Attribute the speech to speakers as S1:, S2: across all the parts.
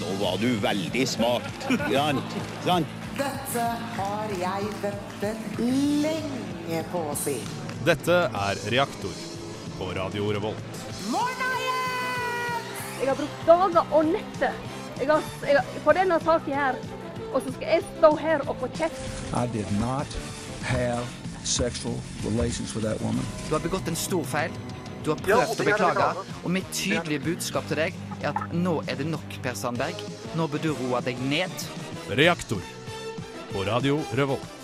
S1: nå var du veldig smart. Sant? Sant?
S2: Dette har jeg ventet lenge på å si.
S3: Dette er Reaktor på Radio Revolt.
S2: Morna igjen!
S4: Jeg har brukt dager og netter jeg har, jeg har, på denne saken her. Og så skal jeg stå her og få kjeft.
S5: I did not have sexual relations with that woman.
S6: Du har begått en stor feil. Du har prøvd å beklage. Og mitt tydelige budskap til deg er at nå er det nok, Per Sandberg. Nå bør du roe deg ned.
S3: Reaktor på Radio Revolt.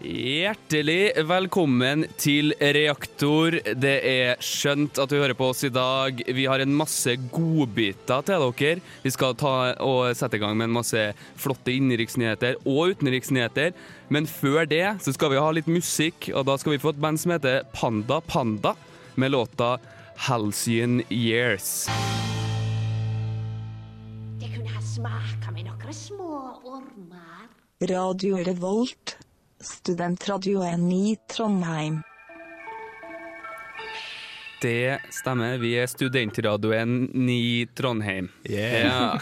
S7: Hjertelig velkommen til Reaktor. Det er skjønt at du hører på oss i dag. Vi har en masse godbiter til dere. Vi skal ta og sette i gang med en masse flotte innenriksnyheter og utenriksnyheter. Men før det så skal vi ha litt musikk, og da skal vi få et band som heter Panda Panda med låta Halcyon Years.
S8: Det kunne ha smaka med nokre små ormar.
S9: Radio Revolt. Studentradioen i Trondheim.
S7: Det stemmer. Vi er studentradioen i Trondheim. Ja.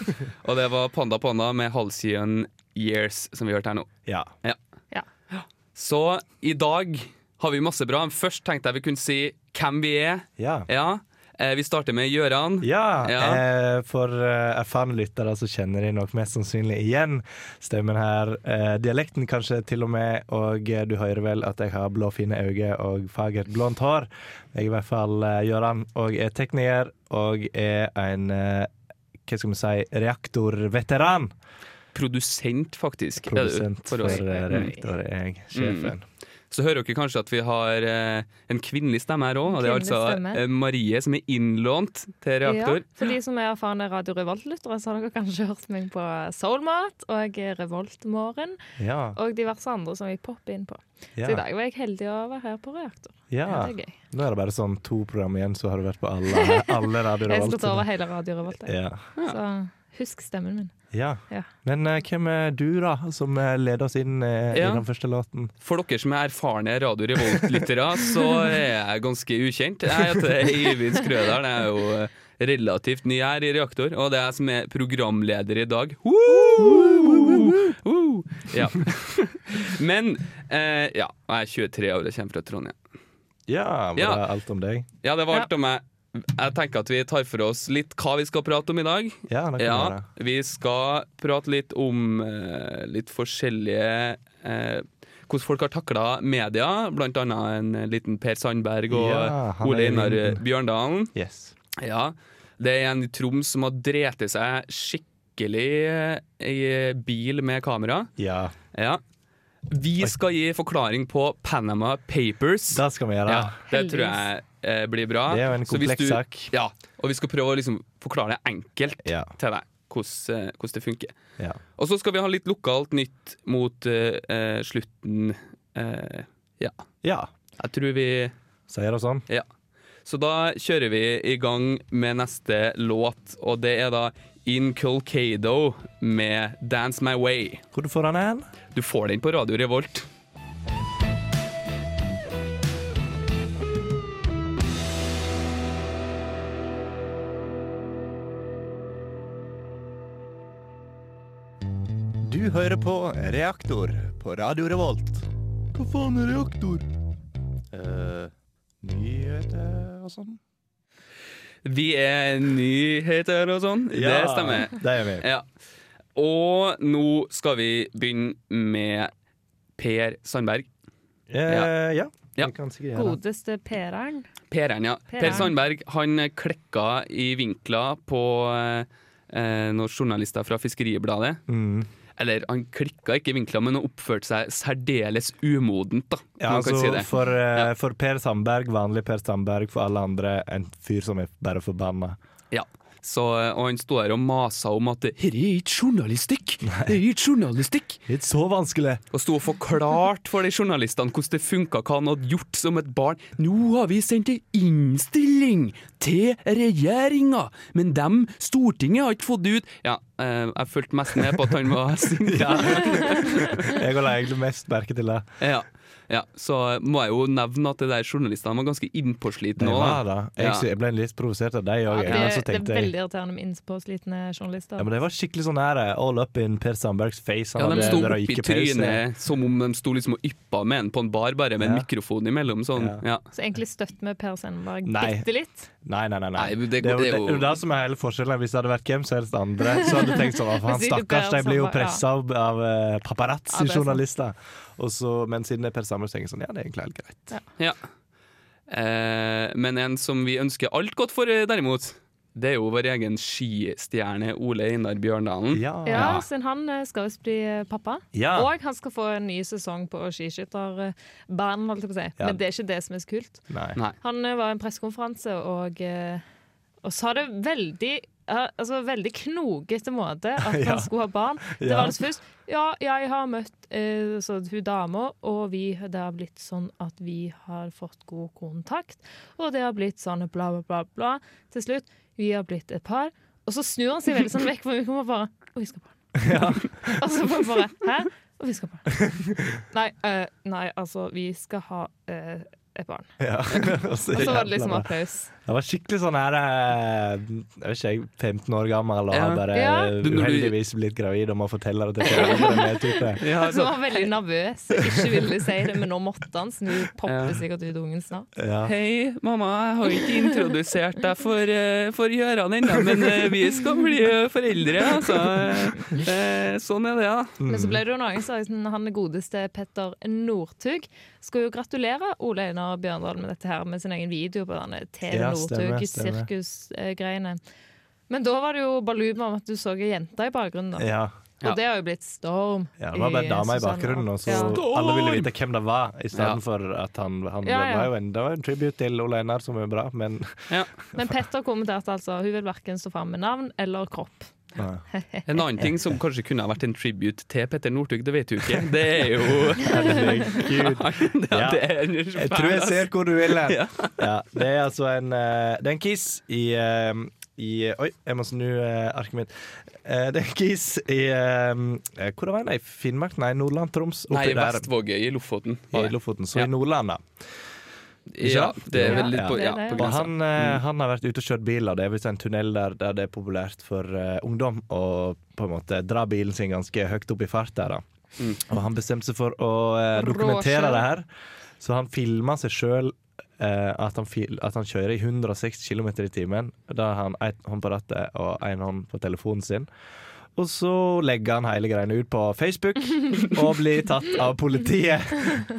S7: Og det var Panda Panda med Halcyon Years som vi hørte her nå.
S10: Ja.
S7: Ja.
S11: Ja.
S7: Så i dag har vi masse bra. Først tenkte jeg vi kunne si hvem vi er.
S10: Ja.
S7: Ja. Eh, Vi starter med Gøran.
S10: Ja,
S7: Ja.
S10: Eh, for eh, erfarne lyttere så kjenner de nok mest sannsynlig igjen stemmen her. Eh, dialekten kanskje til og med, og eh, du hører vel at jeg har blå fine øyne og fagert blondt hår. Jeg er i hvert fall eh, Gøran, og er tekniker, og er en eh, hva skal vi si reaktorveteran.
S7: Produsent, faktisk. er du
S10: Produsent for
S7: oss. Mm.
S10: eh, reaktor, er jeg sjefen.
S7: Så hører dere kanskje at vi har eh, en kvinnelig stemme her òg. Og det er
S11: Kvinnelig
S7: altså
S11: stemme.
S7: eh, Marie som er innlånt til reaktor.
S11: Ja, for de som er erfarne Radio Revolt-lyttere, så har dere kanskje hørt meg på Soulmat og Revoltmorgen
S10: Ja,
S11: og diverse andre som jeg popper inn på. Så i
S10: ja,
S11: dag var jeg heldig å være her på Reaktor.
S10: ja.
S11: Det er gøy.
S10: Nå er det bare sånn to program igjen, så har du vært på alle, alle radioer.
S11: Jeg skal ta over hele Radio Revolt, jeg.
S10: Ja.
S11: så husk stemmen min.
S10: Ja.
S11: Ja.
S10: Men eh, hvem er du, da, som eh, leder oss inn eh,
S7: Ja.
S10: i den første låten?
S7: For dere som er erfarne Radio Revolt-lyttere, så er jeg ganske ukjent. Jeg heter Eivind Skrødal, jeg er jo eh, relativt ny her i Reaktor, og det er jeg som er programleder i dag. Woo! Woo! Ja. Men eh, ja, jeg er 23 år og kommer fra Trondheim.
S10: Ja, var
S7: Ja.
S10: det alt om deg?
S7: Ja, det var alt om meg. Jeg tenker at vi tar for oss litt hva vi skal prate om i dag.
S10: Ja, det kan vi
S7: Ja,
S10: gjøre.
S7: vi skal prate litt om eh, litt forskjellige eh, hvordan folk har takla media, blant annet en eh, liten Per Sandberg og
S10: Ja, han er
S7: Ole
S10: jo
S7: Einar eh,
S10: vinden.
S7: Bjørndalen.
S10: Yes.
S7: Ja, det er en i Troms som har drept seg skikkelig eh, i bil med kamera.
S10: Ja,
S7: Ja. Vi skal gi forklaring på Panama Papers.
S10: det skal vi gjøre.
S7: Ja, det tror jeg eh, blir bra.
S10: Det er jo en
S7: Så hvis
S10: kompleks sak.
S7: Ja, og vi skal prøve å liksom forklare det enkelt
S10: Ja.
S7: til deg, hvordan, eh, hvordan det funker.
S10: Ja.
S7: Og så skal vi ha litt lokalt nytt mot eh, eh, slutten. Eh, ja,
S10: ja.
S7: jeg tror vi
S10: Sier det sånn.
S7: Ja. Så da kjører vi i gang med neste låt, og det er da Inculcado med 'Dance My Way'.
S10: Hvor får han hen?
S7: Du får den på Radio Revolt.
S12: Du hører på Reaktor på Radio Revolt. Hva faen er reaktor? eh nyheter og sånn.
S7: Vi er nyheter og sånn.
S10: Ja,
S7: Det stemmer.
S10: Det er vi.
S7: Ja. Og nå skal vi begynne med Per Sandberg.
S10: Eh, ja.
S7: Ja.
S10: Vi kan sikkert gjøre det.
S11: Godeste P-eren.
S7: Per-en, ja. Per,
S11: Per
S7: Sandberg han klekka i vinkler på eh, noen journalister fra Fiskeribladet.
S10: Mm.
S7: Eller han klikka ikke i vinkler, men han oppførte seg særdeles umodent. da
S10: Ja,
S7: man kan
S10: altså,
S7: si det.
S10: for, eh, for Per Sandberg, vanlig Per Sandberg, for alle andre en fyr som er bare forbanna.
S7: Ja. Så, eh, og han sto der og masa om at 'Dette er ikke journalistikk'! Det er ikke journalistikk
S10: Det er så vanskelig!
S7: Og sto og forklarte for de journalistene hvordan det funka, hva han hadde gjort som et barn. Nå har vi sendt en innstilling til regjeringa, men dem, Stortinget, har ikke fått det ut. Ja, eh, jeg fulgte mest med på at han var sinna.
S5: Jeg la egentlig mest merke til det.
S7: ja. ja. Så må jeg jo nevne at de der journalistene var ganske innpåslitne
S5: Det
S7: nå,
S5: var det. Jeg,
S7: Ja.
S5: sy- jeg ble litt provosert av deg òg.
S10: det,
S5: Ja, så
S10: det er
S5: tenkte jeg-
S10: veldig irriterende med innspåslitne journalister.
S5: ja, men det var skikkelig sånn her eh, all up in Per Sandbergs face.
S7: Ja, de sto oppi
S5: røykepause.
S7: trynet som om de sto liksom og yppa med en på en bar, bare med en
S5: Ja.
S7: mikrofon imellom. Sånn. Ja.
S10: Så egentlig støtt med Per Sandberg
S5: Nei.
S10: bitte litt.
S5: Nei, nei, nei. nei.
S7: Nei,
S5: det,
S7: det-
S5: er jo-
S7: det
S5: det,
S7: er jo-
S5: er jo det som er hele forskjellen. Hvis det hadde vært hvem som helst andre, så hadde jeg tenkt sånn «Å, faen,
S10: Hvis ikke
S5: Stakkars,
S10: Per
S5: de blir jo
S10: Sandberg, ja.
S5: pressa av, av eh, paparazzi-journalister.
S10: Ja,
S5: Og så- Men siden det er Per Sandberg, så tenker jeg sånn Ja, det er egentlig helt greit.
S7: Ja. Eh, men en som vi ønsker alt godt for, eh, derimot, det er jo vår egen skistjerne Ole Einar Bjørndalen.
S10: Ja, siden han eh, skal visst bli eh, pappa.
S7: Ja.
S10: Og han skal få en ny sesong på skiskytterbanen, holdt jeg på å si.
S7: Ja.
S10: Men det er ikke det som er så kult.
S5: Nei.
S10: Han eh, var i en pressekonferanse og, eh, og sa det veldig eh, Altså veldig knokete måte at
S13: Ja.
S10: han skulle ha barn. Det
S13: Ja.
S10: var altså først Ja, jeg har møtt eh, så, hun dama, og vi, det har blitt sånn at vi har fått god kontakt. Og det har blitt sånn bla, bla, bla. bla. Til slutt, vi har blitt et par. Og så snur han seg veldig sånn vekk, for vi kommer bare Og vi skal på den. og så får vi Altså, bare Hæ? Og vi skal på den. Nei, eh, nei, altså, vi skal ha eh, et barn.
S5: Ja. altså,
S10: og så var det liksom
S5: jævla bra.
S10: applaus.
S5: Det var skikkelig sånn her eh, Jeg vet ikke, jeg er 15 år gammel og
S10: Ja.
S5: har bare
S10: Ja.
S5: eh,
S10: Du- når du-
S5: uheldigvis blitt gravid og må fortelle det til foreldrene. type.
S7: Altså,
S10: Han var veldig nervøs og ikke ville si det, men nå måtte han, så nå popper sikkert ut ungen snart.
S5: Ja.
S7: eh, Hei, mamma, jeg har ikke introdusert deg for, eh, for Gøran ennå, men eh, vi skal bli eh, foreldre, altså. Eh, sånn er det, da.
S5: Mm.
S10: Men så ble det jo noen som sa sånn, han godeste Petter Northug skulle jo gratulere Ole Einar Bjørndal med dette her, med sin egen video på denne TV
S13: Ja, stemmer, stemmer.
S10: Northug-sirkus-greiene. Men da var det jo baluba om at du så ei jente i bakgrunnen, da.
S5: Ja.
S10: Og det har jo blitt storm.
S5: Ja, det var bare dama i
S10: sosiale-
S5: bakgrunnen, og så
S10: Ja.
S5: alle ville vite hvem det var. I stedet
S7: Ja.
S5: for at han, han
S10: Ja, ja.
S5: Var jo en, Det var en tribute til Ole Einar, som er bra, men
S10: Men Petter kommenterte altså hun vil verken stå fram med navn eller kropp.
S7: En annen ting som kanskje kunne ha vært en tribute til Petter Northug, det vet du ikke. Det er jo
S5: Herregud.
S7: Ja, det er en
S5: Jeg tror jeg ser hvor du vil hen.
S7: Ja.
S5: Ja, det er altså en, eh, det er en kiss i, eh, i Oi, jeg må snu eh, arket mitt. Eh, Det er en kiss i eh, Hvor var den? I Finnmark? Nei, Nordland, Troms? oppi
S7: Nei,
S5: der.
S7: Vestvågøy i Lofoten. var
S5: I
S7: det.
S5: Lofoten, så
S7: Ja.
S5: i Nordland, da. Ikke
S7: Ja,
S5: sant?
S7: det er vel litt på- ja, på Mm.
S5: Og
S7: grensa.
S5: han, eh, han har vært ute og kjørt bil, og det er visst en tunnel der, der det er populært for eh, ungdom å på en måte dra bilen sin ganske høyt opp i fart der, da.
S7: Mm.
S5: Og han bestemte seg for å eh, dokumentere
S12: Råkjøre.
S5: det her, så han filma seg sjøl at, han fil- at han kjører i 160 km i timen. Da har han én hånd på rattet og én hånd på telefonen sin. Og så legger han hele greiene ut på Facebook og blir tatt av politiet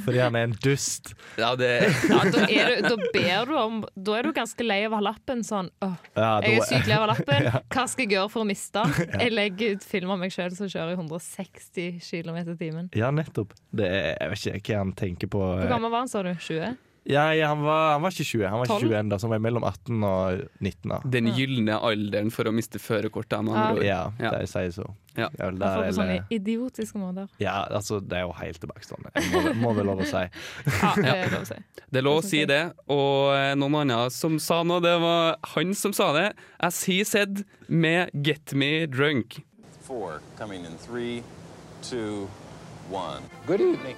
S5: fordi han er en dust.
S7: Ja, det
S10: Ja, da, er du, da ber du om Da er du ganske lei av å ha lappen sånn Åh,
S5: Ja, da-
S10: Jeg er sykt lei av å ha lappen.
S5: Ja.
S10: Hva skal jeg gjøre for å miste den?
S5: Ja.
S10: Jeg legger ut film av meg sjøl som kjører i 160 km i timen.
S5: Ja, nettopp. Det er, jeg vet ikke hva han tenker på. eh,
S10: Hvor gammel var han, sa du? 20?
S5: Ja, ja, han, var, han var ikke 20, han var ikke
S10: Tolv?
S5: 20 ennå, så han var mellom 18 og 19. Da.
S7: Den gylne alderen for å miste førerkortet, med andre ord.
S5: Ja, de sier så.
S7: Ja.
S5: Ja, vel,
S10: Han
S5: der,
S10: får på
S5: eller,
S10: sånne idiotiske måter.
S5: ja, altså, det er jo helt tilbakestående. Jeg Må, må vel lov å si.
S10: Ja, det er lov å si.
S7: Det er lov å si det, og eh, noen andre som sa noe, det var han som sa det. As he said med Get Me Drunk.
S14: Four coming in three, two, one. Good evening.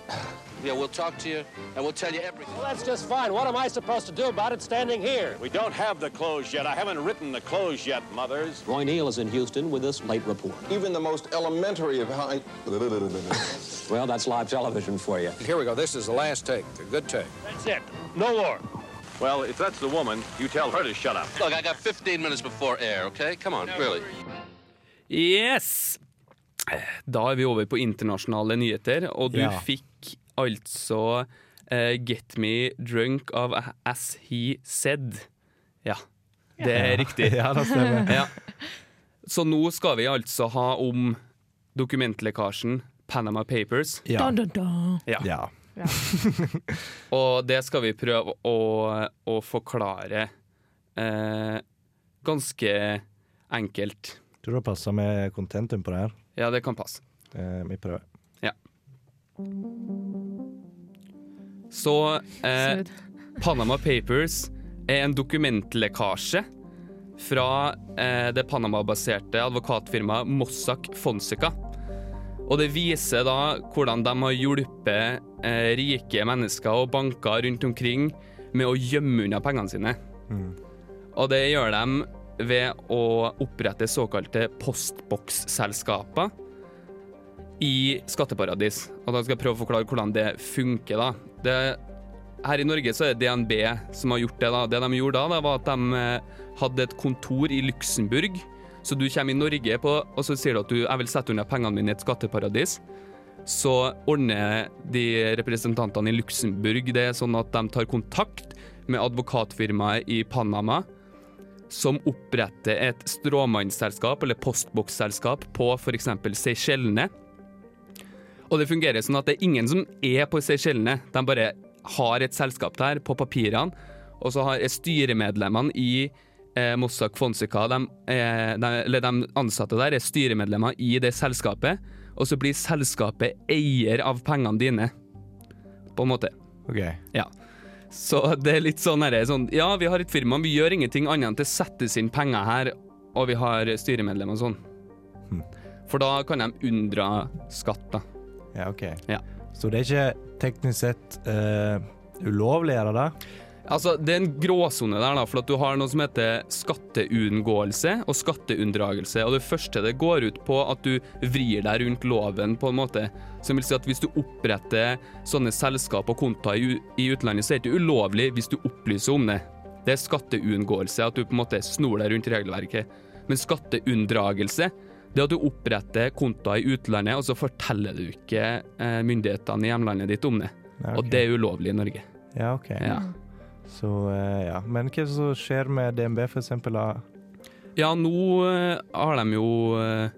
S14: Yeah, we'll talk to you and we'll tell you everything.
S15: Well, that's just fine. What am I supposed to do about it standing here?
S14: We don't have the clothes yet. I haven't written the clothes yet, mothers.
S15: Roy Neal is in Houston with this late report.
S14: Even the most elementary of how.
S15: Well, that's live television for you.
S14: Here we go. This is the last take. A good take. That's it. No more. Well, if that's the woman, you tell her to shut up. Look, I got 15 minutes before air, okay? Come on, really.
S7: Yes! Da er vi over på internasjonale nyheter, og du
S12: Ja.
S7: fikk altså eh, Get Me Drunk av As He Said. Ja, det er
S12: Ja.
S7: riktig.
S12: Ja, det stemmer.
S7: Ja. Så nå skal vi altså ha om dokumentlekkasjen Panama Papers.
S10: Dun, dun, dun.
S7: Ja. og det skal vi prøve å, å forklare eh, ganske enkelt.
S5: Tror du det passer med contenten på det her?
S7: Ja, det kan passe.
S5: Eh, vi prøver.
S7: Ja. Så eh, Panama Papers er en dokumentlekkasje fra eh, det Panama-baserte advokatfirmaet Mossack Fonseca. Og det viser da hvordan de har hjulpet eh, rike mennesker og banker rundt omkring med å gjemme unna pengene sine. Og det gjør de ved å opprette såkalte postboksselskaper i skatteparadis. Og da skal jeg prøve å forklare hvordan det funker, da. Det, her i Norge så er det DNB som har gjort det, da. Det de gjorde da, da var at de eh, hadde et kontor i Luxembourg. Så du kommer i Norge på, og så sier du at du jeg vil sette unna pengene mine i et skatteparadis. Så ordner de representantene i Luxembourg det sånn at de tar kontakt med advokatfirmaet i Panama, som oppretter et stråmannsselskap eller postboksselskap på f.eks. Seychellene. Og det fungerer sånn at det er ingen som er på Seychellene. De bare har et selskap der på papirene. Og så har er styremedlemmene i eh, Mossack Fonseca de, eh, de, Eller de ansatte der er styremedlemmer i det selskapet. Og så blir selskapet eier av pengene dine, på en måte. Ja. Så det er litt sånn, her, sånn Ja, vi har et firma, men vi gjør ingenting annet enn at det settes inn penger her, og vi har styremedlemmer og sånn. For da kan de unndra skatt, da.
S5: Ja, ok.
S7: Ja.
S5: Så det er ikke teknisk sett eh, ulovlig, er det det?
S7: Altså, Det er en gråsone der, da, for at du har noe som heter skatteunngåelse og skatteunndragelse. Og det første det går ut på at du vrir deg rundt loven, på en måte. Som vil si at hvis du oppretter sånne selskap og kontoer i, u- i utlandet, så er det ikke ulovlig hvis du opplyser om det. Det er skatteunngåelse, at du på en måte snor deg rundt regelverket. Men skatteunndragelse, det er at du oppretter kontoer i utlandet, og så forteller du ikke eh, myndighetene i hjemlandet ditt om det.
S5: Ja, ok.
S7: Og det er ulovlig i Norge.
S5: Ja, OK.
S7: Ja.
S5: Så eh, ja. Men hva er det som skjer med DNB, for eksempel? da?
S7: Ja, nå eh, har de jo eh,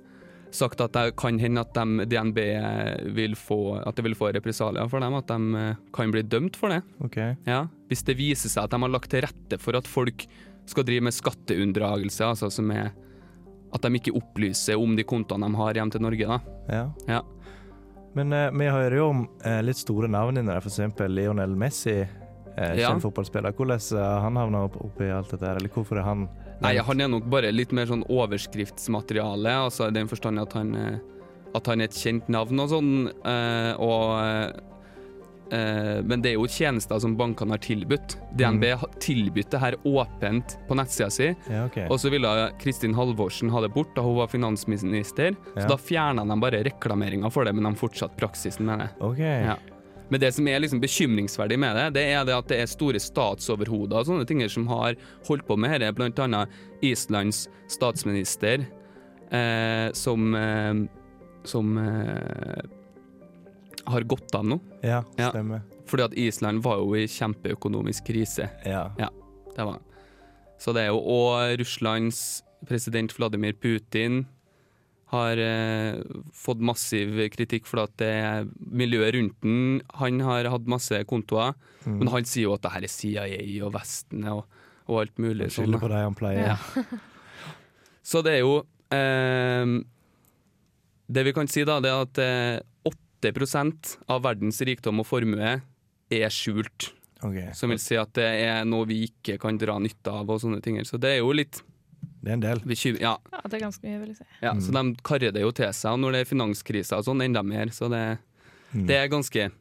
S7: sagt at det kan hende at de, DNB eh, vil få, at det vil få represalier for dem, at de eh, kan bli dømt for det.
S5: OK.
S7: Ja. Hvis det viser seg at de har lagt til rette for at folk skal drive med skatteunndragelse, altså som er at de ikke opplyser om de kontoene de har hjem til Norge, da.
S5: Ja.
S7: Ja.
S5: Men eh, vi hører jo om eh, litt store navn inni der, for eksempel Lionel Messi. Eh,
S7: Ja.
S5: Kjent fotballspiller. Hvordan har han havna opp, oppi alt dette her, eller hvorfor er han
S7: Nei, han er nok bare litt mer sånn overskriftsmateriale, altså i den forstand at han, eh, at han er et kjent navn og sånn, eh, og eh, Men det er jo tjenester som bankene har tilbudt. DNB har tilbudt det her åpent på nettsida si,
S5: Mm. Ja, ok.
S7: og så ville Kristin Halvorsen ha det bort da hun var finansminister,
S5: Ja.
S7: så da fjerna de bare reklameringa for det, men de fortsatte praksisen med det.
S5: OK.
S7: Ja. Men det som er liksom bekymringsverdig med det, det er det at det er store statsoverhoder og sånne ting som har holdt på med dette, blant annet Islands statsminister, eh, som eh, som eh, har gått av nå.
S5: Ja, stemmer.
S7: Fordi at Island var jo i kjempeøkonomisk krise.
S5: Ja.
S7: det var det. Så det er jo Og Russlands president Vladimir Putin har eh, fått massiv kritikk for at det er miljøet rundt den. Han har hatt masse kontoer,
S5: Mm.
S7: men han sier jo at det her er CIA og Vesten og, og alt mulig.
S5: Han
S7: sånn,
S5: skylder
S7: da.
S5: på de han pleier.
S7: Så det er jo eh, Det vi kan si, da, det er at eh, 8 av verdens rikdom og formue er skjult.
S5: Ok.
S7: Som vil si at det er noe vi ikke kan dra nytte av og sånne ting. Så det er jo litt
S5: Det er en del.
S7: Bekym ja.
S10: Ja, det er ganske mye, vil jeg si.
S7: ja Så de karrer det jo til seg. Og når det er finanskrise og sånn, enda mer. Så det, det er ganske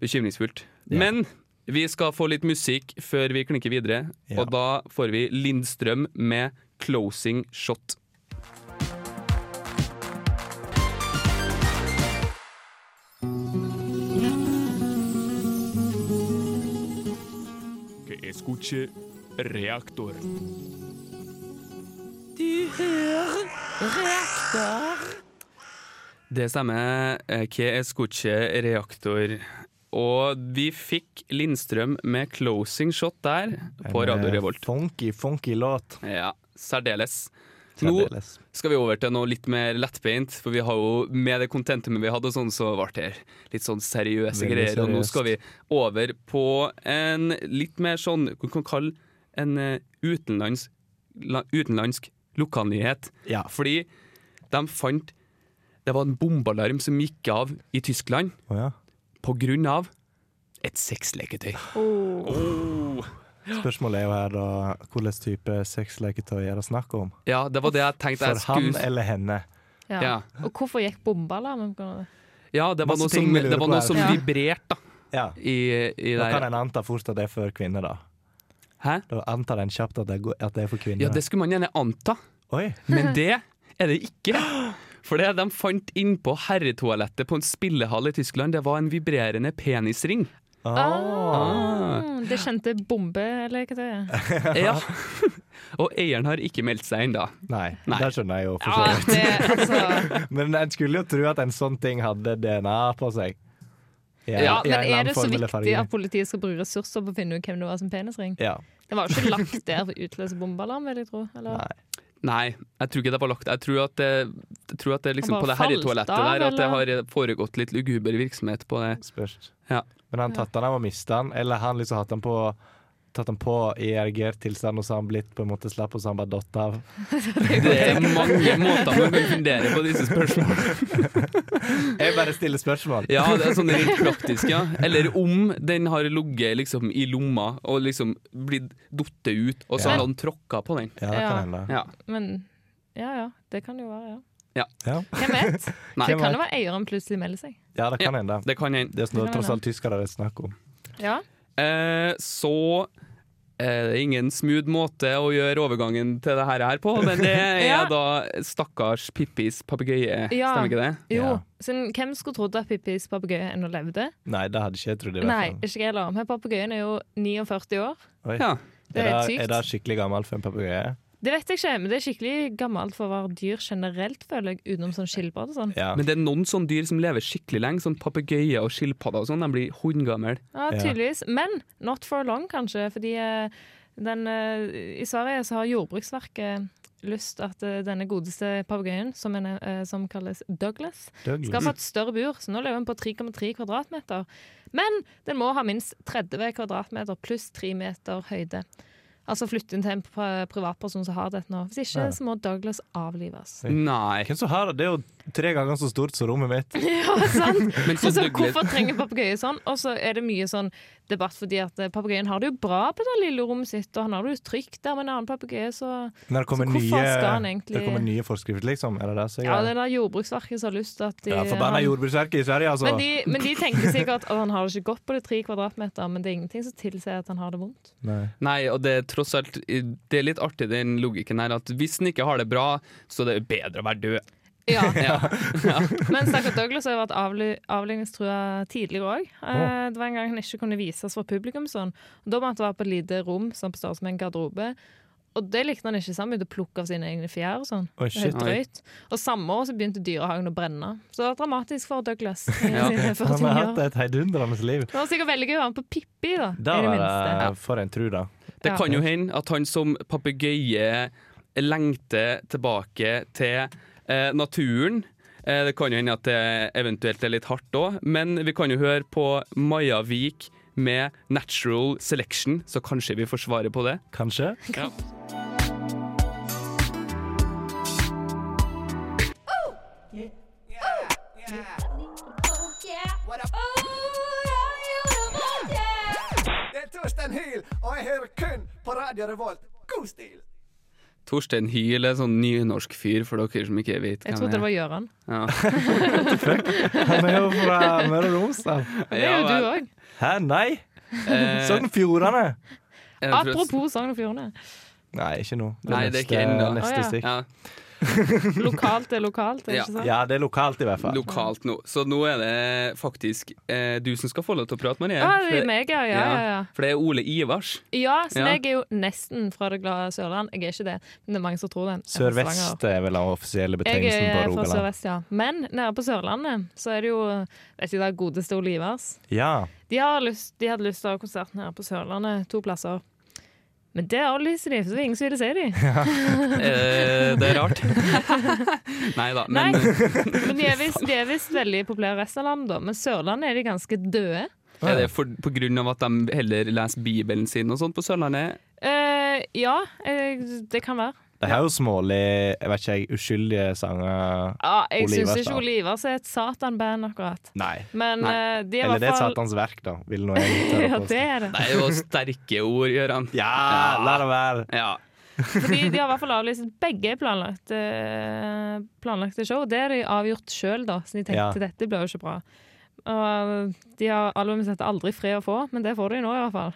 S7: bekymringsfullt. Men vi skal få litt musikk før vi klinker videre, og da får vi Lindstrøm med 'Closing Shot'.
S3: Que escuche reaktor.
S13: Du hører reaktor.
S7: Det stemmer. Eh, Ke escuche reaktor. Og vi fikk Lindstrøm med 'Closing Shot' der, på
S5: En, eh,
S7: Radio Revolt.
S5: Funky, funky låt.
S7: Ja, særdeles.
S5: Særdeles.
S7: Nå skal vi over til noe litt mer lettbeint, for vi har jo med det kontentumet vi hadde, og sånn, så ble det litt sånn seriøse
S5: Veldig
S7: greier. Og nå
S5: seriøst.
S7: skal vi over på en litt mer sånn, hva kan man kalle en eh, utenlands, la, utenlandsk lokalnyhet. Fordi de fant Det var en bombealarm som gikk av i Tyskland
S5: Å ja.
S7: på grunn av et sexleketøy.
S10: Oh.
S7: Oh.
S5: Spørsmålet er jo her da hvilken type sexleketøy er det snakk om?
S7: Ja, det var det jeg tenkte jeg
S5: For han
S7: skulle
S5: eller henne.
S10: Ja.
S7: Ja.
S10: Og hvorfor gikk bombealarmen? på grunn av det?
S7: Ja, det var
S5: Masse
S7: noe
S5: ting
S7: som,
S5: vi lurer
S7: det var
S5: på
S7: noe
S5: her.
S7: som
S10: Ja.
S7: vibrerte, da.
S5: Ja.
S7: I, i
S5: Da kan
S7: der.
S5: en anta fort at det er for kvinner, da.
S7: Hæ?
S5: Da antar en kjapt at det er go- at det er for kvinner.
S7: Ja, det skulle man gjerne anta,
S5: Oi.
S7: men det er det ikke. For det de fant innpå herretoalettet på en spillehall i Tyskland, det var en vibrerende penisring. Ah.
S10: Mm, det kjente bombe, eller hva det
S5: Eh,
S10: er?
S7: Ja. Og eieren har ikke meldt seg ennå.
S5: Nei, det skjønner jeg jo for
S10: Ja,
S5: så vidt.
S10: det, altså,
S5: Men en skulle jo tro at en sånn ting hadde DNA på seg. I en- i
S10: ja,
S5: en
S10: men
S5: eller
S10: er
S5: annen
S10: det så
S5: form eller
S10: viktig
S5: farge.
S10: at politiet skal bruke ressurser på å finne ut hvem det var som penisring?
S5: Ja.
S10: Den var jo ikke lagt der for å utløse bombealarm, vil jeg tro. Eller?
S7: Nei, jeg tror ikke det var lagt Jeg tror at det, jeg tror at det liksom
S10: Han
S7: på
S10: bare
S7: det herretoalettet
S10: falt av,
S7: der at det har
S10: eller?
S7: foregått litt luguber virksomhet på det.
S5: Spørs.
S7: Ja.
S5: Men han tatt han av og mista han, eller han liksom hatt han på Tatt han på i erigert tilstand, og så har han blitt på en måte slapp, og så har han bare datt av.
S7: Det er mange måter man kan fundere på disse spørsmålene.
S5: Jeg bare stiller spørsmål.
S7: Ja, det er sånn rent praktisk, ja. Eller om den har ligget liksom i lomma og liksom blitt datt ut, og så
S10: Ja.
S7: har noen tråkka på den.
S5: Ja,
S7: Ja.
S10: Men ja ja, det kan jo være, ja.
S7: Ja.
S10: Hvem vet?
S7: Nei.
S10: Det kan jo være eieren plutselig melder seg.
S5: Ja, det kan hende.
S7: Det kan hende.
S5: Det er sånn, tross alt tyskere det er snakk om.
S10: Ja.
S7: Eh, så er det ingen smooth måte å gjøre overgangen til det her, her på, men det er
S10: Ja.
S7: da stakkars Pippis papegøye,
S10: Ja.
S7: stemmer ikke det?
S10: Jo. Så hvem skulle trodd at Pippis papegøye ennå levde?
S5: Nei, det hadde ikke jeg trodd. i hvert
S10: Nei,
S5: fall.
S10: ikke jeg heller. Men papegøyen er jo 49 år.
S5: Oi.
S10: Ja. Det er
S5: er, det,
S10: helt sykt.
S5: er det skikkelig gammel for en papegøye?
S10: Det vet jeg ikke, men det er skikkelig gammelt for å være dyr generelt, føler jeg, utenom sånn skilpadde og sånn.
S7: Men det er noen sånne dyr som lever skikkelig lenge, som papegøyer og skilpadder og sånn. De blir hundgamle.
S10: Ja, tydeligvis. Men not for long, kanskje. Fordi eh, den, eh, i Sverige så har jordbruksverket eh, lyst at eh, denne godeste papegøyen, som, er nev- eh, som kalles Douglas,
S13: Douglas.
S10: skal få et større bur. Så nå lever den på 3,3 kvadratmeter. Men den må ha minst 30 kvadratmeter pluss 3 meter høyde. Altså flytte inn til en pri- privatperson som har dette nå. Hvis ikke
S5: Ja.
S10: så må Douglas avlives.
S7: Nei.
S5: Hvem som har det? Det er jo tre ganger så stort som rommet mitt.
S10: Ja, sant!
S5: Men så
S10: Altså,
S5: Douglas-
S10: hvorfor trenger papegøye sånn? Og så er det mye sånn debatt fordi at eh, papegøyen har det jo bra på det lille rommet sitt, og han har det jo trygt der med en annen papegøye, så
S5: Når det kommer,
S10: Så hvorfor
S5: nye,
S10: skal han egentlig-
S5: det kommer nye forskrifter, liksom? Er det det som er
S10: Ja,
S5: greia?
S10: det er det jordbruksverket som har lyst til at de
S5: Ja, Forbanna
S10: han-
S5: jordbruksverket i Sverige, altså.
S10: Men de, men de tenker sikkert at han har det ikke godt på det tre kvadratmeter, men det er ingenting som tilsier at han har det vondt.
S5: Nei.
S7: og det er tross alt Det er litt artig, den logikken her, at hvis den ikke har det bra, så er det bedre å være død.
S10: Ja.
S7: Ja.
S10: Men stakkars Douglas har jo vært avli avlivningstrua tidligere òg. Eh,
S7: Å.
S10: det var en gang han ikke kunne vises for publikum. sånn. Og Da måtte han være på et lite rom som på størrelse med en garderobe. Og det likte han ikke, så han begynte å plukke av sine egne fjær. og sånn.
S7: Oi,
S10: Det var
S7: shit.
S10: helt drøyt. Og samme år så begynte dyrehagen å brenne. Så det var dramatisk for Douglas. i
S5: Ja.
S10: sine
S5: Han
S10: 49
S5: har
S10: år.
S5: hatt et heidundrende liv.
S10: Det var sikkert veldig gøy å være med på Pippi, da.
S5: Da
S10: i det
S5: var
S10: minste.
S5: det for en tru, da.
S7: Det
S10: Ja.
S7: kan jo hende at han som papegøye lengter tilbake til eh, naturen. Eh, det kan jo hende at det eventuelt er litt hardt òg, men vi kan jo høre på Maja Vik med 'Natural Selection', så kanskje vi får svaret på det.
S5: Kanskje.
S7: Ja.
S16: Det er Torsten Hyl, og jeg hører kun på Radio Revolt. God stil!
S7: Torstein Hyl er sånn nynorsk fyr, for dere som ikke vet
S10: Jeg trodde det var Gøran.
S5: Han er jo fra Møre og Romsdal.
S10: Det er jo du òg.
S5: Hæ, nei? Sogn og Fjordane.
S10: Apropos Sogn og Fjordane.
S5: Nei, ikke nå.
S7: Nei, det er ikke ennå.
S5: neste
S10: Å, ja.
S5: stikk.
S10: Lokalt er lokalt, er det ikke sant?
S5: Ja, det er lokalt i hvert fall.
S7: Lokalt nå. Så nå er det faktisk eh, du som skal få lov til å prate, Marie.
S10: Ah, det er
S7: For det-
S10: meg, ja, ja, ja, ja.
S7: For det er Ole Ivars.
S10: Ja, så
S7: Ja.
S10: jeg er jo nesten fra det glade Sørland. Jeg er ikke det, men det er mange som tror det. Jeg er fra Stavanger.
S5: Sør-vest er vel den offisielle
S10: Jeg
S5: betegnelsen på
S10: er fra
S5: Rogaland.
S10: Sør-Vest, ja. Men nede på Sørlandet så er det jo vet ikke, det er godeste Olivers.
S5: Ja.
S10: De, har lyst, de hadde lyst til å ha konsert nede på Sørlandet, to plasser. Men det avlyser de, for det var ingen som ville se dem.
S7: Eh, det er rart. Nei da, men
S10: Men de er visst- de er visst veldig populære i resten av landet, da. Men Sørlandet er de ganske døde.
S7: er det for, på grunn av at de heller leser Bibelen sin og sånn på Sørlandet?
S10: Eh, ja, eh, det kan være.
S5: De har jo smålig, jeg vet ikke jeg, uskyldige sanger.
S10: Ja, jeg syns
S5: Olivers,
S10: ikke
S5: da.
S10: Olivers er et satanband, akkurat.
S5: Nei.
S10: Men eh, de er i
S5: Eller det er
S10: hvert fall
S5: Satans verk, da. Vil nå jeg tørre
S10: Ja,
S5: å påstå.
S10: det er det.
S7: Nei, det var sterke ord, Gøran.
S5: Ja, la det være.
S10: Fordi de har i hvert fall avlyst begge planlagte, planlagte show. Det har de avgjort sjøl, da, så de tenkte
S5: Ja.
S10: dette blir jo ikke bra. Og de har albumet sitt aldri fred å få, men det får de nå i hvert fall.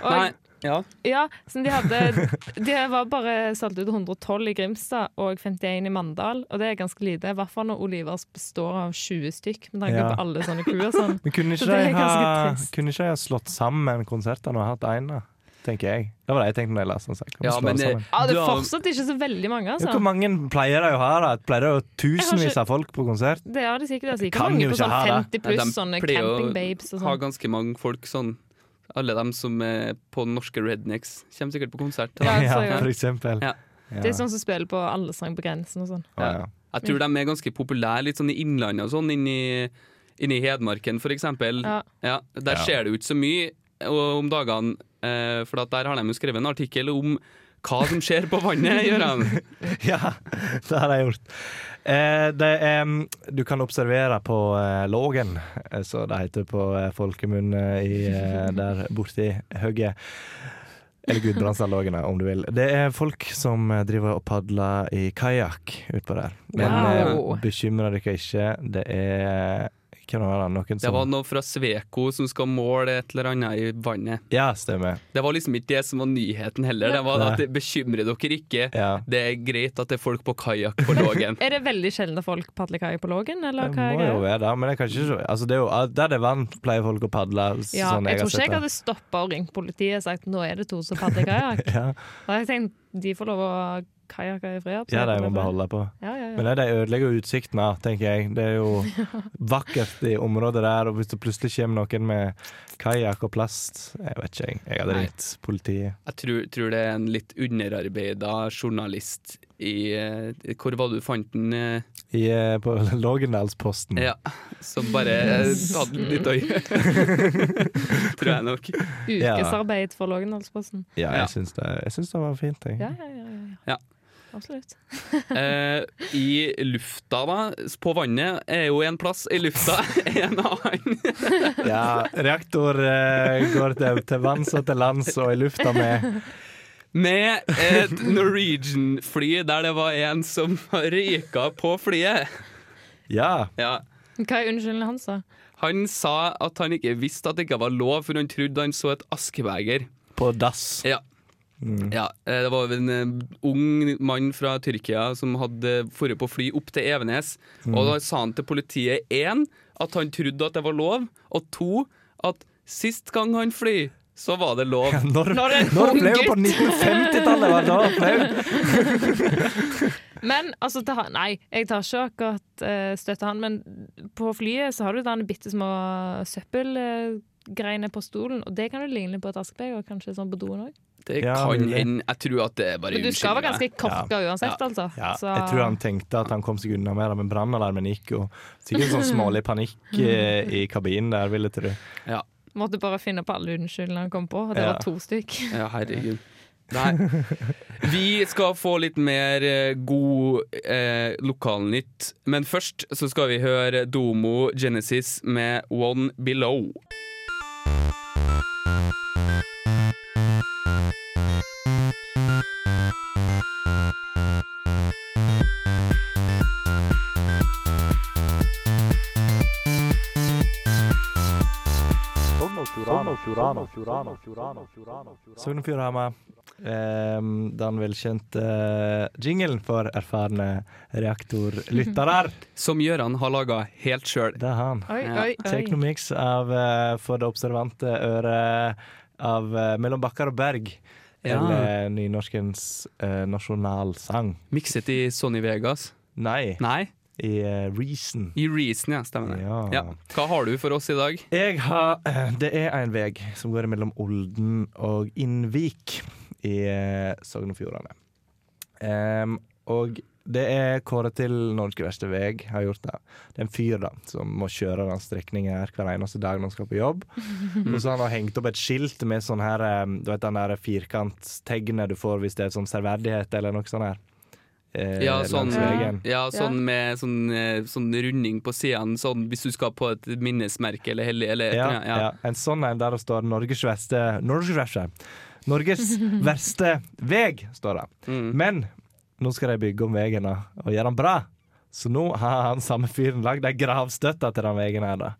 S10: Og-
S7: Nei, ja.
S10: Ja, så de hadde De var bare solgt ut 112 i Grimstad og 51 i Mandal, og det er ganske lite. I hvert fall når Olivers består av 20 stykk, med tanke
S5: Ja.
S10: på alle sånne crew og sånn.
S5: Men kunne ikke,
S10: Så det er
S5: de
S10: ganske
S5: ha,
S10: trist.
S5: kunne ikke de ha slått sammen konsertene og hatt én, da? Tenker jeg. Det var det jeg tenkte når jeg leste den. så jeg kan
S7: Ja,
S5: slå
S7: men
S5: det
S7: det-
S5: sammen.
S10: Ja, det er fortsatt ikke så veldig mange,
S5: Ja,
S10: altså.
S5: Hvor mange pleier de å ha, da? Pleier de å ha tusenvis
S10: ikke-
S5: av folk på konsert?
S10: Det er det sikkert. Det er sikkert
S5: Kan
S10: mange
S5: jo
S10: på
S5: ikke
S10: sånn
S5: ha det.
S10: 50 pluss,
S7: Nei, de
S10: sånne
S7: pleier å
S10: camping babes og
S7: Ha
S10: sånn.
S7: ganske mange folk sånn. Alle dem som er på norske Rednecks, kommer sikkert på konsert.
S10: Ja, Ja, så ja.
S5: for eksempel.
S7: Ja.
S10: Det er sånn som spiller på Allesang på grensen og sånn.
S7: Ja. Jeg tror de er ganske populære litt sånn i innlandet og sånn, inni, inni Hedmarken for eksempel.
S10: Ja.
S7: Ja, der
S10: Ja.
S7: skjer det jo ikke så mye og- om dagene, eh, for at der har de jo skrevet en artikkel om hva som skjer på vannet, gjør de.
S5: ja, det har jeg gjort. Eh, det er, mm, du kan observere på eh, Lågen, eh, så det heter på eh, folkemunne i, eh, der borti høyre. Eller Gudbrandsdallågen, om du vil. Det er folk som eh, driver og padler i kajakk utpå der. Men
S7: Wow.
S5: eh, bekymrer dere ikke. Det er Hvem var det? Noen
S7: Det
S5: som
S7: var noe fra Sveko som skal måle et eller annet i vannet.
S5: Ja, stemmer.
S7: Det var liksom ikke det som var nyheten heller. Det var at det bekymrer dere ikke. Det er greit at det er folk på kajakk på Lågen.
S10: Er det veldig sjelden at folk padler kai på Lågen, eller hva
S5: Det
S10: er
S5: må jo
S10: greia?
S5: være det, men jeg kan ikke se altså, det er jo, Der det er vann, pleier folk å padle.
S10: Ja,
S5: sånn jeg,
S10: jeg tror ikke
S5: har sett
S10: jeg
S5: det.
S10: hadde stoppa og ringt politiet og sagt nå er det to som padler kajakk.
S5: Ja.
S10: Da hadde jeg tenkt de får lov å kajakke i fred.
S5: Ja, de må bare holde på.
S10: Ja, ja, ja.
S5: Men det de ødelegger jo utsikten av, tenker jeg. Det er jo vakkert i området der, og hvis det plutselig kommer noen med kajakk og plast Jeg vet ikke, jeg. Jeg hadde
S7: Nei.
S5: ringt politiet.
S7: Jeg tror, tror det er en litt underarbeida journalist i eh, Hvor var det du fant den? eh?
S5: I, eh, på Lågendalsposten.
S7: Ja, som bare eh, hadde litt å gjøre. tror jeg nok.
S10: Ukesarbeid for Lågendalsposten.
S5: Ja, jeg syns det, jeg syns det var fint, jeg.
S10: Ja, ja, ja, ja.
S7: Ja.
S10: Absolutt.
S7: Eh, I lufta, da. På vannet er jo en plass. I lufta er en annen.
S5: Ja, reaktor eh, går til, til vanns og til lands og i lufta med
S7: Med et Norwegian-fly der det var en som røyka på flyet.
S5: Ja.
S10: Hva er unnskyldningen hans, da?
S7: Han sa at han ikke visste at det ikke var lov, for han trodde han så et askebeger.
S5: På dass.
S7: Ja.
S5: Mm.
S7: ja. eh, Det var en eh, ung mann fra Tyrkia som hadde dratt på fly opp til Evenes.
S5: Mm.
S7: Og da sa han til politiet én, at han trodde at det var lov, og to, at sist gang han fly, så var det lov.
S5: Når,
S7: en
S5: når
S7: ung
S5: ble det på
S7: gutt-
S5: 1950-tallet? Var det da flaut?
S10: Men altså, det har- nei, jeg tar ikke akkurat eh, støtte han, men på flyet så har du den bitte små søppelgreiene på stolen, og det kan jo ligne på et askebeger, og kanskje sånn på doen òg.
S7: Det
S5: Ja,
S7: kan
S5: mulig.
S7: hende. Jeg tror at det er bare
S10: Men du skal være ganske
S7: unnskyldninger.
S10: korka uansett, altså.
S5: Ja,
S10: Så-
S5: jeg tror han tenkte at han kom seg unna med det, men brannalarmen gikk, og sikkert sånn smålig panikk eh, i kabinen der, vil jeg tro.
S7: Ja.
S10: Måtte bare finne på alle unnskyldningene han kom på, og det
S5: Ja.
S10: var to stykk.
S7: Ja, herregud. Nei. Vi skal få litt mer eh, god eh, lokalnytt, men først så skal vi høre Domo Genesis med One Below.
S5: Sogn og Fjordhamar. Ehm, den velkjente eh, jinglen for erfarne reaktorlyttere.
S7: Som Gøran har laga helt sjøl.
S5: Det har han.
S10: Oi, oi, oi.
S5: Teknomix av eh, For det observante øret av eh, Mellom bakker og berg.
S7: Ja.
S5: Eller nynorskens eh, nasjonalsang.
S7: Mikset i Sony Vegas?
S5: Nei. I eh, Reason.
S7: I Reason, ja. Stemmer det. Ja. Hva har du for oss i dag?
S5: Jeg har eh, Det er en vei som går mellom Olden og Innvik i eh, Sogn og Fjordane. Em, og det er kåret til Norges verste vei. Har gjort det. det er en fyr da som må kjøre den strekningen her hver eneste dag når han skal på jobb. Og så han har hengt opp et skilt med sånn her eh, Du vet den der firkanttegnet du får hvis det er sånn serverdighet eller noe sånt her. eh,
S7: Ja, sånn,
S5: langs veien.
S7: ja, sånn med sånn, eh, sånn runding på siden, sånn hvis du skal på et minnesmerke eller hellig eller
S5: ja, ja. En sånn en der det står 'Norges verste Norges verste Norges verste veg', står det.
S10: Mm.
S5: Men nå skal de bygge om veien da, og gjøre den bra. Så nå har han samme fyren lagd ei gravstøtte til den veien her, da.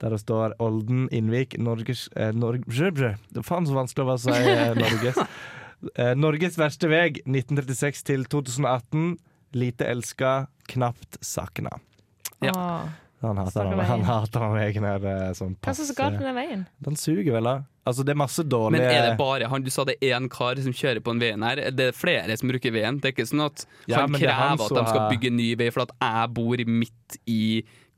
S5: Der det står Olden, Innvik, Norges eh, Norg... brr, brr. Det er faen så vanskelig å bare si eh, Norges. Eh, Norges verste veg 1936 til 2018. Lite elska, knapt sakna.
S10: Åh.
S5: Han hater
S10: Stakkar
S5: den, han
S10: veien.
S5: hater den veien her eh, som
S10: Hva er det som skal
S5: passe-
S10: til den veien?
S5: Den suger vel, da? Altså, det er masse
S7: Men
S5: dårlige
S7: er det bare han? Du sa det er én kar som kjører på den veien her. Det er flere som bruker veien. Det er ikke sånn at
S5: Ja,
S7: han
S5: men det er
S7: krever
S5: han
S7: at
S5: som
S7: de skal
S5: er-
S7: bygge ny vei for at jeg bor midt i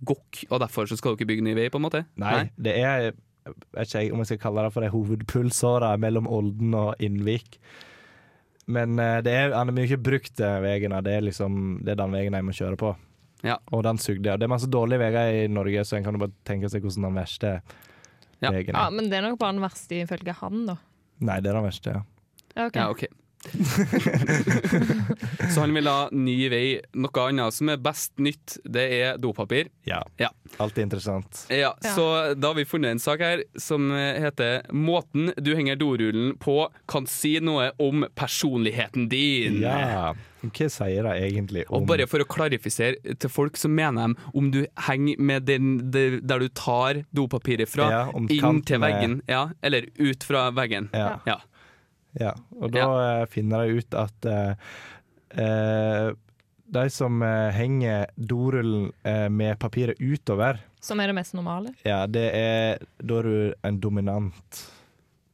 S7: Gokk, og derfor så skal dere bygge ny vei, på en måte?
S5: Nei, det er jeg vet ikke jeg om jeg skal kalle det for en hovedpulsåre mellom Olden og Innvik. Men eh, det er, han er mye brukt, den veien. her. Det er liksom det er den veien jeg må kjøre på. Og den sugde. Og det er masse dårlige veier i Norge, så en kan jo bare tenke seg hvordan den verste veien
S10: Ja,
S5: er.
S10: men det er nok bare den verste ifølge han, da.
S5: Nei, det er den verste, ja.
S10: Ja, ok.
S7: Ja, ok. så han vil ha ny vei. Noe annet som er best nytt, det er dopapir.
S5: Ja.
S7: ja.
S5: Alltid interessant.
S7: Ja, så da har vi funnet en sak her som heter 'Måten du henger dorullen på kan si noe om personligheten din'.
S5: Ja. Hva sier det egentlig om
S7: Og bare for å klarifisere til folk, så mener de om du henger med den det- der du tar dopapiret fra,
S5: Ja, om
S7: inn
S5: kanten
S7: til
S5: er-
S7: veggen, ja, eller ut fra veggen.
S5: Ja. Ja, og da eh, finner de ut at eh, eh, de som eh, henger dorullen eh, med papiret utover,
S10: Som er det mest normale.
S5: ja, det er, da er du en dominant.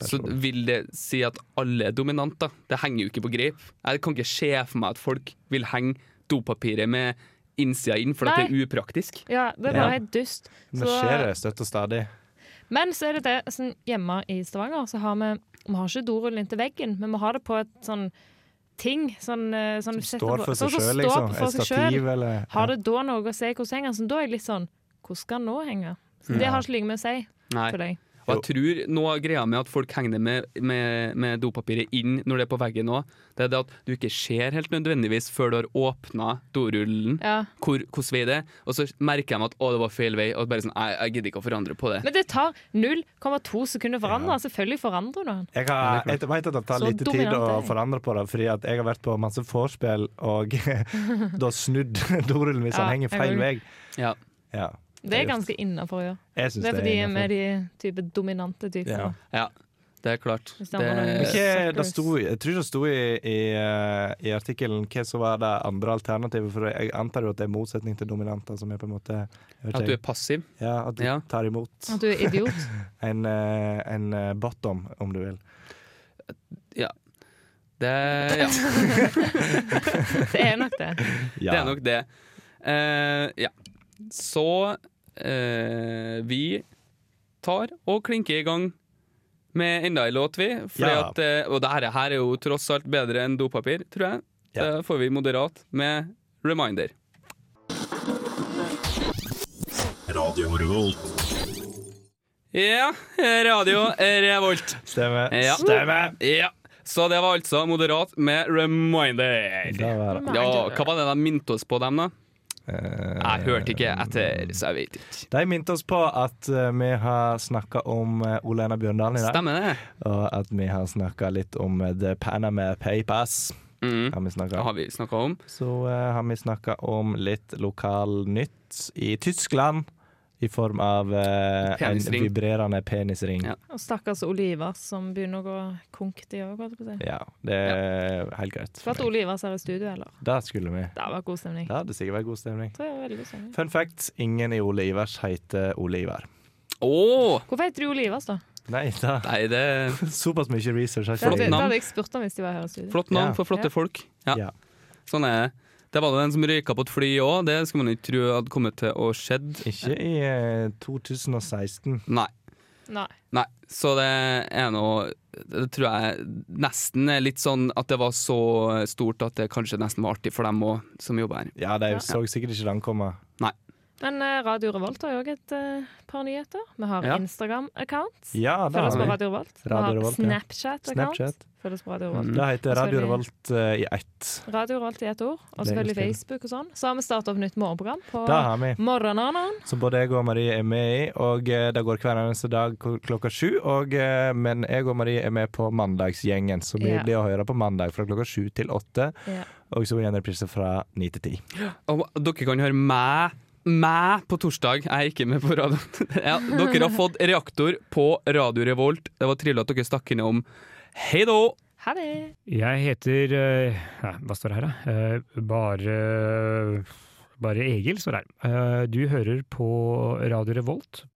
S7: Så vil det si at alle er dominant, da. Det henger jo ikke på greip. Jeg kan ikke se for meg at folk vil henge dopapiret med innsida inn, for at det er
S10: Nei.
S7: upraktisk.
S10: Ja, det var
S7: Ja.
S10: helt dust.
S5: Men
S10: Så- eh,
S5: skjer det støtt og stadig.
S10: Men så er det det, sånn, hjemme i Stavanger så har vi, vi har ikke dorullen inntil veggen, men vi har det på et sånn ting. Sånn, eh, sånn du setter
S5: står
S10: på-
S5: for seg
S10: sånn som
S5: selv,
S10: står
S5: liksom.
S10: for
S5: Et
S10: seg
S5: stativ,
S10: selv.
S5: eller-
S10: Har
S5: ja.
S10: det da noe å si hvordan henger den? Sånn, da er jeg litt sånn Hvordan skal den nå henge? Så det
S7: Ja.
S10: har ikke like mye å si for
S7: Nei.
S10: deg.
S7: Og jeg tror noe av greia med at folk henger det med, med, med dopapiret inn når det er på veggen òg, det er det at du ikke ser helt nødvendigvis før du har åpna dorullen
S10: Ja.
S7: hvor, hvordan vei det er, og så merker de at å, det var feil vei, og bare sånn Nei, jeg gidder ikke å forandre på det.
S10: Men det tar 0,2 sekunder å forandre. Selvfølgelig forandrer du den.
S5: Jeg, har, jeg vet at det tar
S10: Så
S5: lite tid
S10: dominant
S5: å
S10: er jeg.
S5: forandre på det, fordi at jeg har vært på masse vorspiel og da snudd dorullen hvis
S10: Ja,
S5: han henger
S10: jeg
S5: feil
S10: vil.
S5: vei.
S7: Ja.
S10: Det er ganske innafor å gjøre.
S5: Jeg synes
S10: det er
S5: det er
S10: fordi vi er
S5: innenfor.
S10: med de type dominante typene.
S5: Ja.
S7: Ja, det er klart.
S10: Hvis det var noe
S5: Men hva, det
S10: Eh, suckers.
S5: sto, jeg tror det sto i, i, eh, i artikkelen hva som var det andre alternativet, for jeg antar jo at det er motsetning til dominanter, som er på en måte jeg vet
S7: At du
S5: ikke.
S7: er passiv.
S5: Ja, at du tar imot.
S10: At du er idiot.
S5: en, eh, en eh, bottom, om du vil.
S7: Ja. Det Ja.
S10: Det er nok det.
S5: Ja.
S7: Det er nok det. Eh, ja. Så eh, vi tar og klinker i gang med enda en låt, vi. Fordi
S5: Ja.
S7: at, eh, og det her- her er jo tross alt bedre enn dopapir, tror jeg. Da får vi moderat med Reminder.
S3: Radio Revolt.
S7: Ja, Radio Revolt.
S5: Stemmer.
S7: Ja.
S5: Stemmer.
S7: Ja. Så det var altså moderat med Reminder.
S5: var det.
S7: Ja, hva var det de minte oss på, dem, da?
S5: Jeg
S7: hørte ikke etter, så jeg vet ikke.
S5: De minte oss på at eh, vi har snakka om eh, Ole Einar Bjørndalen i dag.
S7: Stemmer det.
S5: Og at vi har snakka litt om eh, The Panama Papers. Har vi snakket
S7: Det Mm. har vi snakka om.
S5: Så eh, har vi snakka om litt lokal nytt i Tyskland. I form av eh, en
S7: Penisring.
S5: vibrerende penisring. Ja,
S10: Og stakkars Ole Ivars som begynner å gå konk, de òg, holdt jeg på å si.
S5: det er helt greit.
S10: Skulle hatt Ole Ivars her i studio, eller?
S5: Det skulle vi.
S10: Det var god stemning.
S5: Det hadde sikkert vært god stemning.
S10: Det var veldig god stemning.
S5: Fun fact, ingen i Ole Ivers heter Ole Ivar.
S10: Hvorfor heter du Ole Ivars, da?
S5: Nei, da. Såpass mye research har
S10: Det,
S5: ikke
S10: det,
S5: jeg.
S10: det hadde jeg spurt om hvis de var her i studio.
S7: Flott navn for flotte folk. Ja. Sånn er det. Det var det den som røyka på et fly òg, det skulle man ikke tro hadde kommet til å skjedd.
S5: Ikke i eh, 2016.
S7: Nei.
S10: Nei.
S7: Nei, så det er nå Det tror jeg nesten er litt sånn at det var så stort at det kanskje nesten var artig for dem òg, som jobber her.
S5: Ja, de så sikkert ikke den komme.
S7: Nei.
S10: Men eh, Radio Revolt har jo også et eh, par nyheter. Vi har
S5: Ja.
S10: Instagram-account.
S5: Ja, det
S10: Følg oss
S5: har
S10: på
S5: vi.
S10: Radio Revolt. Vi
S5: Radio
S10: har
S5: Revolt, ja.
S10: Snapchat-account.
S5: Snapchat. Mm,
S10: Følg oss på Radio Revolt.
S5: Det
S10: Og
S5: heter
S10: så har
S5: Radio
S10: vi-
S5: Revolt eh, i ett.
S10: Radio Revolt i ett ord. Og
S5: Det er
S10: selvfølgelig
S5: ganske
S10: Facebook og sånn. Så har vi starta opp nytt morgenprogram på
S5: Det har vi.
S10: Morgenanaen.
S5: Som både jeg og Marie er med i, og eh, det går hver eneste dag kl- klokka sju. Og, eh, men jeg og Marie er med på Mandagsgjengen, så vi
S7: Ja.
S5: blir å høre på mandag fra klokka sju til åtte.
S7: Ja.
S5: Og så gjenreprise fra ni til ti.
S7: Og dere kan høre meg meg på torsdag. Jeg er ikke med på radioen. Ja, dere har fått reaktor på Radio Revolt. Det var trivelig at dere stakk innom. Hei da!
S10: Ha det!
S17: Jeg heter eh, nei, Hva står det her, da? Eh, Bare Bare Egil står det her. Eh, Du hører på Radio Revolt